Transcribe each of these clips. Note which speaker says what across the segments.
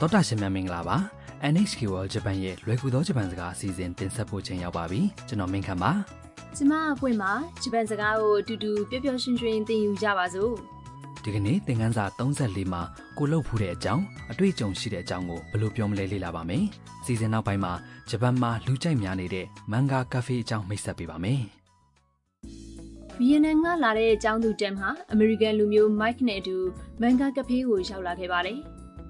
Speaker 1: တောတာရှင်များမင်္ဂလာပါ NHK World Japan ရဲ့လွယ်ကူသောဂျပန်စကားအစီအစဉ်တင်ဆက်ဖို့ချိန်ရောက်ပါပြီကျွန်တော်မင်းခမ်းပါ
Speaker 2: ကျမအပွင့်မှာဂျပန်စကားကိုအတူတူပျော်ပျော်ရွှင်ရွှင်သင်ယူကြပါစို့
Speaker 1: ဒီကနေ့သင်ခန်းစာ34မှာကိုလှုပ်ဖူးတဲ့အကြောင်းအတွေ့အကြုံရှိတဲ့အကြောင်းကိုဘယ်လိုပြောမလဲလေ့လာပါမယ်စီစဉ်နောက်ပိုင်းမှာဂျပန်မှာလူကြိုက်များနေတဲ့မန်ဂါကာဖေးအကြောင်းမိတ်ဆက်ပေးပါမယ်
Speaker 2: ဗီယက်နမ်ကလာတဲ့အကြောင်းသူတမ်ဟာအမေရိကန်လူမျိုးမိုက်နဲ့အတူမန်ဂါကဖေးကိုရောက်လာခဲ့ပါတယ်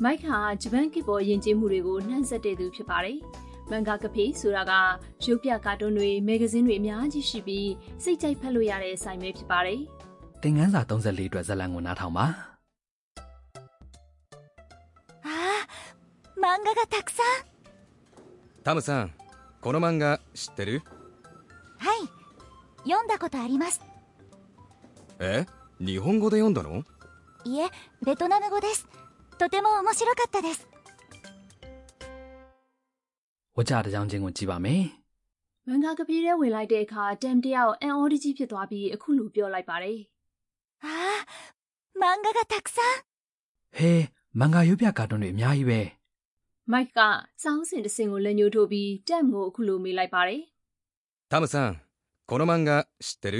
Speaker 2: မိုက်ဟာဂျပန်ကစ်ဘောယဉ်ကျေးမှုတွေကိုနှံ့ဆက်တဲ့သူဖြစ်ပါတယ်မန်ဂါကဖေးဆိုတာကရုပ်ပြကာတွန်းတွေမဂ္ဂဇင်းတွေအများကြီးရှိပြီးစိတ်ကြိုက်ဖတ်လို့ရတဲ့ဆိုင်ပဲဖြစ်ပါတယ်
Speaker 1: သင်ခန်းစာ34အတွက်ဇာတ်လမ်းကိုနားထောင်ပါ
Speaker 3: ああ漫画がたくさん
Speaker 4: タムさんこの漫画知ってる
Speaker 3: はい読んだことあります
Speaker 4: え日本語で読んだの
Speaker 3: いえベトナム語ですとても面白かったです
Speaker 1: ဝကြတစ်ကြောင်းချင်းကိုကြည့်ပါမယ်
Speaker 2: မန်ဂါကပြေးထဲဝင်လိုက်တဲ့အခါတမ်တယောက်အန်အော်ဒီကြီးဖြစ်သွားပြီးအခုလိုပြောလိုက်ပါတယ်
Speaker 3: ああ漫画がたくさん
Speaker 1: ဟေးမန်ဂါရုပ်ပြကာတွန်းတွေအများကြီးပဲ
Speaker 2: ။မိုက်ကစောင်းစင်တစ်စင်ကိုလက်ညှိုးထိုးပြီးတမ်ကိုအခုလိုမေးလိုက်ပါတယ်
Speaker 4: タムさんこの漫画知ってる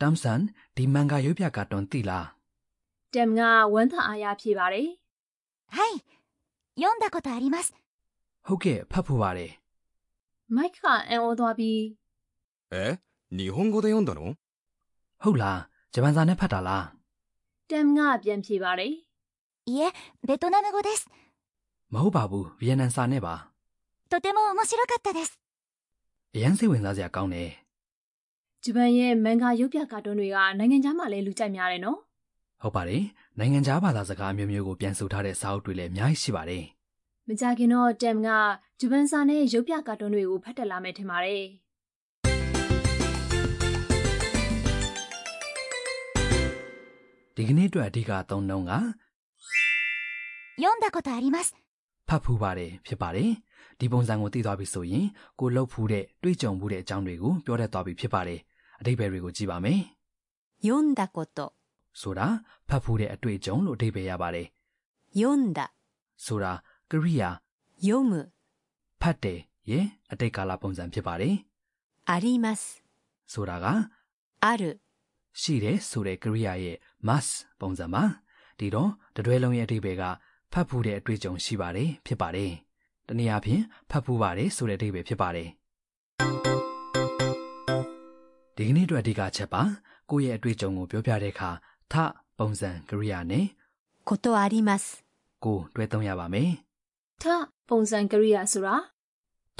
Speaker 1: တမ်ဆန်ဒီမန်ဂါရုပ်ပြကာတွန်းသိလား
Speaker 2: ။တမ်ကဝမ်းသာအားရဖြေပါတယ်
Speaker 3: はい読んだことあります
Speaker 1: ဟုတ်ကဲ့ဖတ်ဖို့ပါတယ်
Speaker 2: ။မိုက်ကအန်အော်သွားပြီး
Speaker 4: え日本語で読んだの
Speaker 1: ဟုတ်လားဂျပန်စာနဲ့ဖတ်တာလား
Speaker 2: တမ်ကပြန်ဖြေပါတယ်
Speaker 3: いえベトナム語です
Speaker 1: မဟုတ်ပါဘူးဗီယက်နမ်စာနဲ့ပါ
Speaker 3: とても面白かったです
Speaker 1: အရန်စိတ်ဝင်စားစရာကောင်းတယ်
Speaker 2: ။ဂျပန်ရဲ့မန်ဂါရုပ်ပြကာတွန်းတွေကနိုင်ငံခြားမှာလည်းလူကြိုက်များတယ်နော်
Speaker 1: ဟုတ်ပါတယ်နိုင်ငံခြားဘာသာစကားမျိုးမျိုးကိုပြန်ဆိုထားတဲ့စာအုပ်တွေလည်းအများကြီးရှိပါတယ်
Speaker 2: ။မကြခင်တော့တမ်ကဂျပန်စာနဲ့ရုပ်ပြကာတွန်းတွေကိုဖတ်တက်လာမယ်ထင်ပါတယ်
Speaker 1: ဒီကနေ့အတွက်အဓိကအသုံးနှုန်းက
Speaker 3: 読んだことあります
Speaker 1: ဖတ်ဖူးပါတယ်ဖြစ်ပါတယ်ဒီပုံစံကိုသိသွားပြီဆိုရင်ကိုလှုပ်ဖူးတဲ့တွေ့ကြုံဖူးတဲ့အကြောင်းတွေကိုပြောတတ်သွားပြီဖြစ်ပါတယ်အဓိပ္ပာယ်တွေကိုကြည့်ပါမယ်
Speaker 5: 読んだこと
Speaker 1: ဆိုတာဖတ်ဖူးတဲ့အတွေ့အကြုံလို့အဓိပ္ပာယ်ရပါတယ်
Speaker 5: 読んだ
Speaker 1: ဆိုတာကရိယာ
Speaker 5: 読む
Speaker 1: ဖတ်တယ်ရဲ့အတိတ်ကာလပုံစံဖြစ်ပါတယ်
Speaker 5: あります
Speaker 1: ဆိုတာက
Speaker 5: ある
Speaker 1: ရှိတယ်ဆိုတဲ့ကရိယာရဲ့ must ပုံစံပါဒီတော့တတွဲလုံးရဲ့အဓိပ္ပာယ်ကဖတ်ဖူးတဲ့အတွေ့အကြုံရှိပါတယ်ဖြစ်ပါတယ်တနည်းအားဖြင့်ဖတ်ဖူးပါတယ်ဆိုတဲ့အဓိပ္ပာယ်ဖြစ်ပါတယ်ဒီကနေ့အတွက်အဓိကအချက်ပါကိုယ့်ရဲ့အတွေ့အကြုံကိုပြောပြတဲ့အခါထပုံစံကရိယာနဲ့
Speaker 5: ことあります
Speaker 1: ကိုတွဲသုံးရပါမယ်
Speaker 2: ။ထပုံစံကရိယာဆိုတာ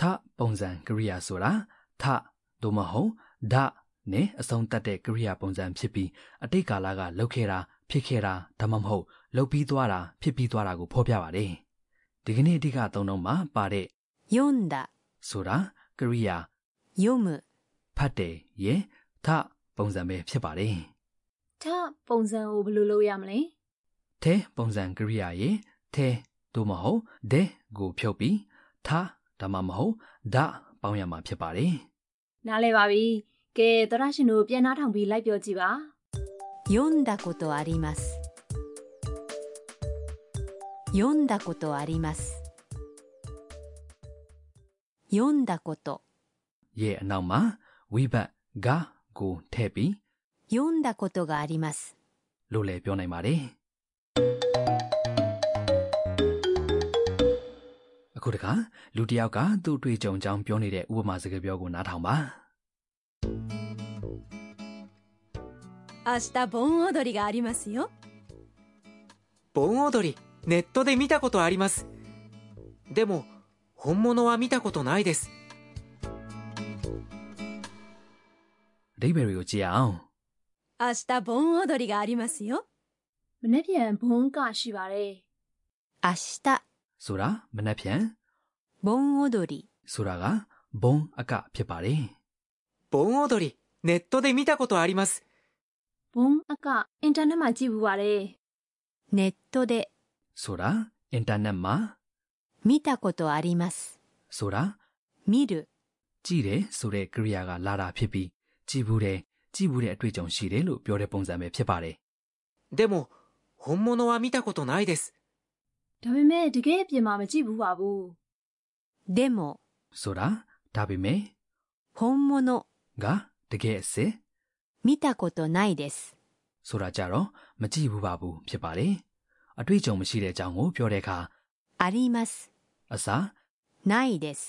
Speaker 1: ထပုံစံကရိယာဆိုတာထသို့မဟုတ်ဒနဲ့အဆုံးသတ်တဲ့ကရိယာပုံစံဖြစ်ပြီးအတိတ်ကာလကလှုပ်ခဲ့တာဖြစ်ခဲ့တာဒါမှမဟုတ်လှုပ်ပြီးသွားတာဖြစ်ပြီးသွားတာကိုဖော်ပြပါတယ်ဒီကနေ့အဓိကအသုံးတော့မှာပါတဲ့
Speaker 5: 読んだ
Speaker 1: ဆိုတာကရိယာ
Speaker 5: 読む
Speaker 1: ဖတ်တယ်ရဲ့ထပုံစံပဲဖြစ်ပါတယ်
Speaker 2: ထပုံစံကိုဘယ်လိုလုပ်ရမလဲ။
Speaker 1: ထဲပုံစံကရိယာရဲ့ထဲသို့မဟုတ်ဒဲကိုဖြုတ်ပြီးထဒါမှမဟုတ်ဒပေါင်းရမှာဖြစ်ပါတယ်
Speaker 2: နားလဲပါပြီ။ကဲသရရှင်တို့ပြန်နှားထောင်ပြီးလိုက်ပြောကြည့်ပါ
Speaker 5: 読んだことあります読んだことあります読んだこと
Speaker 1: ရဲ့အနောက်မှာဝိဘတ်ဂါကိုထည့်ပြီး
Speaker 5: 読んだことがあります
Speaker 1: လို့လည်းပြောနိုင်ပါတယ်အခုတခါလူတစ်ယောက်ကသူ့အတွေ့အကြုံအကြောင်းပြောနေတဲ့ဥပမာစကားပြောကိုနားထောင်ပါ
Speaker 6: 明日盆踊りがありますよ
Speaker 7: 盆踊りネットで見たことありますでも本物は見たことないです
Speaker 1: အဓိပ္ပာယ်တွေကိုကြည့်ရအောင်
Speaker 6: 明日盆踊りがありますよ
Speaker 2: ။မနေ့ပြန်ဘုံကရှိပါတယ်
Speaker 5: 明日
Speaker 1: ဆိုတာမနှက်ဖြန်
Speaker 5: 盆踊り
Speaker 1: ဆိုတာကဘုံအကဖြစ်ပါတယ်
Speaker 7: 盆踊りネットで見たことあります
Speaker 2: ။ဘုံအကအင်တာနက်မှာကြည့်ဘူးပါတယ်
Speaker 5: ネットで
Speaker 1: ဆိုတာအင်တာနက်မှာ
Speaker 5: 見たことあります
Speaker 1: ဆိုတာ
Speaker 5: 見る
Speaker 1: ကြည့်တယ်ဆိုတဲ့ကရိယာကလာတာဖြစ်ပြီးကြည့်ဘူးတယ်ကြည့်ဘူးတဲ့အတွေ့အကြုံရှိတယ်လို့ပြောတဲ့ပုံစံပဲဖြစ်ပါတယ်
Speaker 7: でも本物は見たことないです
Speaker 2: ဒါပေမဲ့တကယ်အပြင်မှာမကြည့်ဘူးပါဘူး
Speaker 5: でも、
Speaker 1: ဆိုတာဒါပေမဲ့
Speaker 5: 本物、
Speaker 1: ကတကယ်အစစ်
Speaker 5: 見たことないです。
Speaker 1: ဆိုတာကြတော့မကြည့်ဘူးပါဘူးဖြစ်ပါတယ်အတွေ့အကြုံမရှိတဲ့အကြောင်းကိုပြောတဲ့အခါ
Speaker 5: あります。
Speaker 1: အစား
Speaker 5: ないです。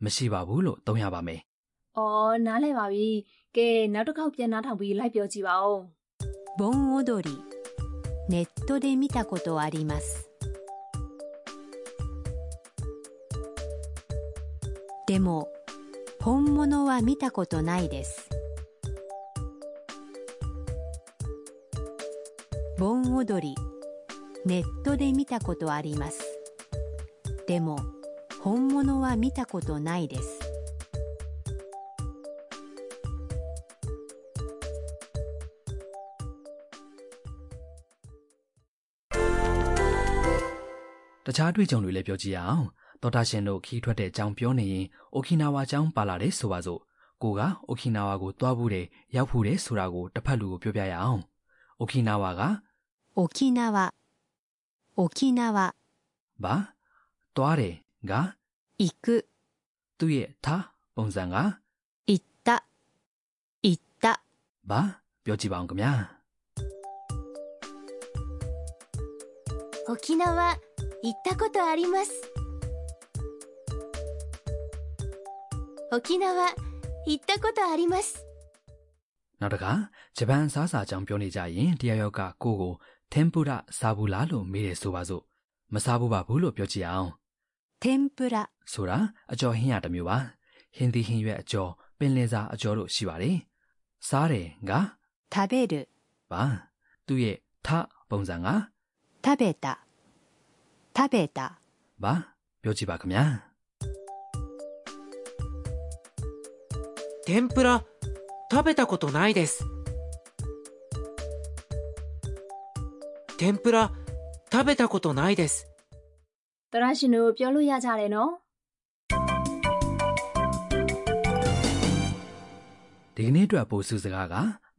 Speaker 1: မရှိပါဘူးလို့သုံးရပါမယ်
Speaker 2: ။အော်နားလဲပါပြီ။ကဲနောက်တစ်ခေါက်ပြန်နားထောင်ပြီးလိုက်ပြောကြည့်ပါဦး
Speaker 5: 盆踊り。ネットで見たことあります。でも、本物は見たことないです。盆踊り。ネットで見たことあります。でも、本物は見たことないです。
Speaker 1: တခြားတွေ့ကြုံတွေလည်းပြောကြည့်ရအောင်ဒေါက်တာရှင်တို့ခီးထွက်တဲ့အကြောင်းပြောနေရင်အိုကီနာဝါအကြောင်းပါလာတယ်ဆိုပါစို့ကိုကအိုကီနာဝါကိုသွားဘူးတယ်ရောက်ဘူးတယ်ဆိုတာကိုတစ်ဖက်လူကိုပြောပြရအောင်အိုကီနာဝါက
Speaker 5: 沖縄。沖縄。
Speaker 1: ဘာသွားတယ်က
Speaker 5: 行く。
Speaker 1: သူ့ရဲ့သားပုံစံက
Speaker 5: 行った。行った。
Speaker 1: ဘာပြောကြည့်ပါအောင်ခင်ဗျာ
Speaker 3: 沖縄行ったことあります沖縄行ったことあります
Speaker 1: နောက်တစ်ခါဂျပန်အစားအစာအကြောင်းပြောနေကြရင်တရားရောက်ကကိုကိုသင်ပူရစားဘူးလားလို့မေးတယ်ဆိုပါစို့မစားဘူးပါဘူးလို့ပြောကြည့်အောင်
Speaker 5: 天ぷら。
Speaker 1: ဆိုတာအကျော်ဟင်းရတစ်မျိုးပါဟင်းသီးဟင်းရွက်အကျော်ပင်လယ်စာအကျော်တို့ရှိပါတယ်စားတယ်က
Speaker 5: 食べる。
Speaker 1: ပါသူ့ရဲ့ထပုံစံက
Speaker 5: 食べた。食べた。
Speaker 1: ပါပြောကြည့်ပါခင်ဗျာ
Speaker 7: 天ぷら食べたことないです天ぷら食べたことないです
Speaker 2: ။တရရှင်တို့ပြောလို့ရကြတယ်နော်
Speaker 1: ဒီကနေ့အတွက်ပို့စုစကားက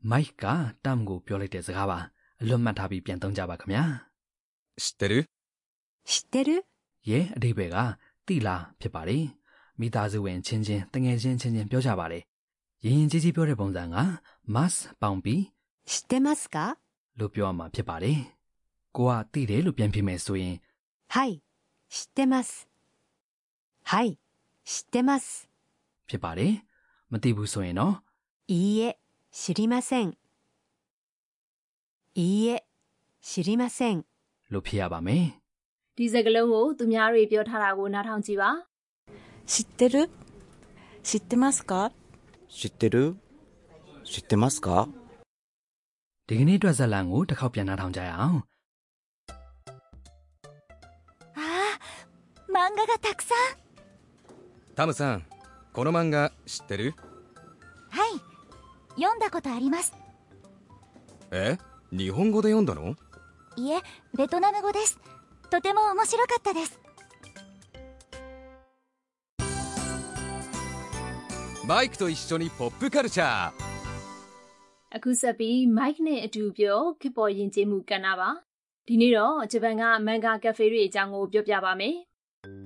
Speaker 1: မိုက်ကတမ်ကိုပြောလိုက်တဲ့စကားပါအလွတ်မှတ်ထားပြီးပြန်သုံးကြပါခင်ဗျာ
Speaker 4: 知ってる
Speaker 5: 知ってる
Speaker 1: ရဲအတိပယ်ကတိလာဖြစ်ပါတယ်မိသားစုဝင်ချင်းချင်းတငယ်ချင်းချင်းချင်းပြောကြပါတယ်ရင်ရင်ကြီးကြီးပြောတဲ့ပုံစံက mass ပေါင်ပြီး
Speaker 5: 知ってますか
Speaker 1: လို့ပြောရမှာဖြစ်ပါတယ်ကိုကတိတယ်လို့ပြန်ပြမယ်ဆိုရင်
Speaker 5: はい。知ってます。はい。知ってます。
Speaker 1: ဖြစ်ပါတယ်။မသိဘူးဆိုရင်တော့
Speaker 5: いいえ、知りません。いいえ、知りません。
Speaker 1: လို့ဖြစ်ရပါမယ်
Speaker 2: ။ဒီစကားလုံးကိုသူများတွေပြောထားတာကိုနားထောင်ကြည့်ပါ
Speaker 8: 知ってる知ってますか
Speaker 9: 知ってる知ってますか
Speaker 1: ။ဒီကနေ့အတွက်ဇာတ်လမ်းကိုတစ်ခေါက်ပြန်နှာထောင်ကြရအောင်
Speaker 3: ああ漫画がたくさん
Speaker 4: タムさんこの漫画知ってる
Speaker 3: はい読んだことあります
Speaker 4: え日本語で読んだの
Speaker 3: いえベトナム語ですとても面白かったです
Speaker 4: マイクと一緒にポップカルチャー
Speaker 2: ။အခုဆက်ပြီးမိုက်နဲ့အတူပြောခေတ်ပေါ်ယဉ်ကျေးမှုကဏ္ဍပါ။ဒီနေ့တော့ဂျပန်ကမန်ဂါကဖေတွေအကြောင်းကိုပြောပြပါမယ်။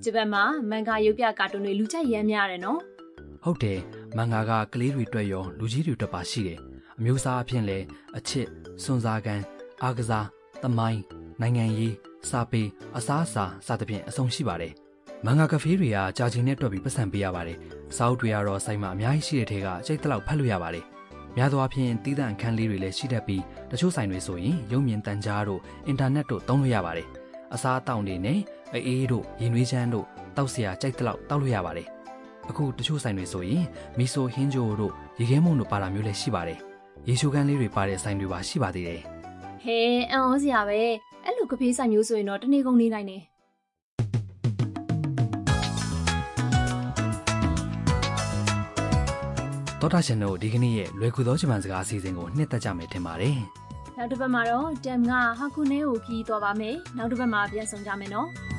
Speaker 2: ဂျပန်မှာမန်ဂါရုပ်ပြကာတွန်းတွေလူကြိုက်ရမ်းများတယ်နော်
Speaker 1: ။ဟုတ်တယ်။မန်ဂါကကလေးတွေအတွက်ရောလူကြီးတွေအတွက်ပါရှိတယ်။အမျိုးအစားအဖြစ်လည်းအချစ်၊စွန်စားကန်၊အားကစား၊သမိုင်း၊နိုင်ငံရေး၊စာပေ၊အစားအစာစသဖြင့်အဆုံးရှိပါတယ်။မန်ဂါကဖေးတွေကကြာချိန်နဲ့တွက်ပြီးပတ်စံပေးရပါတယ်။စာအုပ်တွေကတော့စိုက်မှာအများကြီးရှိတဲ့ထဲကစိတ်တလောက်ဖတ်လို့ရပါတယ်။များသောအားဖြင့်တီးသန့်အခန်းလေးတွေလည်းရှိတတ်ပြီးတချို့ဆိုင်တွေဆိုရင်ရုပ်မြင်သံကြားတို့အင်တာနက်တို့သုံးလို့ရပါတယ်။ အစားအသောက်တွေနဲ့အအေးတို့ရင်နွေးချမ်းတို့တောက်စရာကြိုက်တလောက်တောက်လို့ရပါတယ်။အခုတချို့ဆိုင်တွေဆိုရင်မီဆိုဟင်းဂျိုတို့ရေခဲမုံတို့ပါတာမျိုးလည်းရှိပါတယ်။ရေချိုကန်းလေးတွေပါတဲ့ဆိုင်တွေပါရှိပါသေးတယ်
Speaker 2: ။ဟဲအံ့ဩစရာပဲ။အဲ့လိုကဖေးဆိုင်မျိုးဆိုရင်တော့တနေ့ကုန်နေနိုင်တယ်
Speaker 1: ။သောတာရှင်တို့ဒီကနေ့ရဲ့လွယ်ကူသောဂျပန်စကားအစီအစဉ်ကိုနှစ်သက်ကြမယ်ထင်ပါတယ်
Speaker 2: ။နောက်တစ်ပတ်မှာတော့တမ်ကဟာကူနဲကိုခီးသွားပါမယ်။နောက်တစ်ပတ်မှာပြန်ဆောင်ကြမယ်နော်။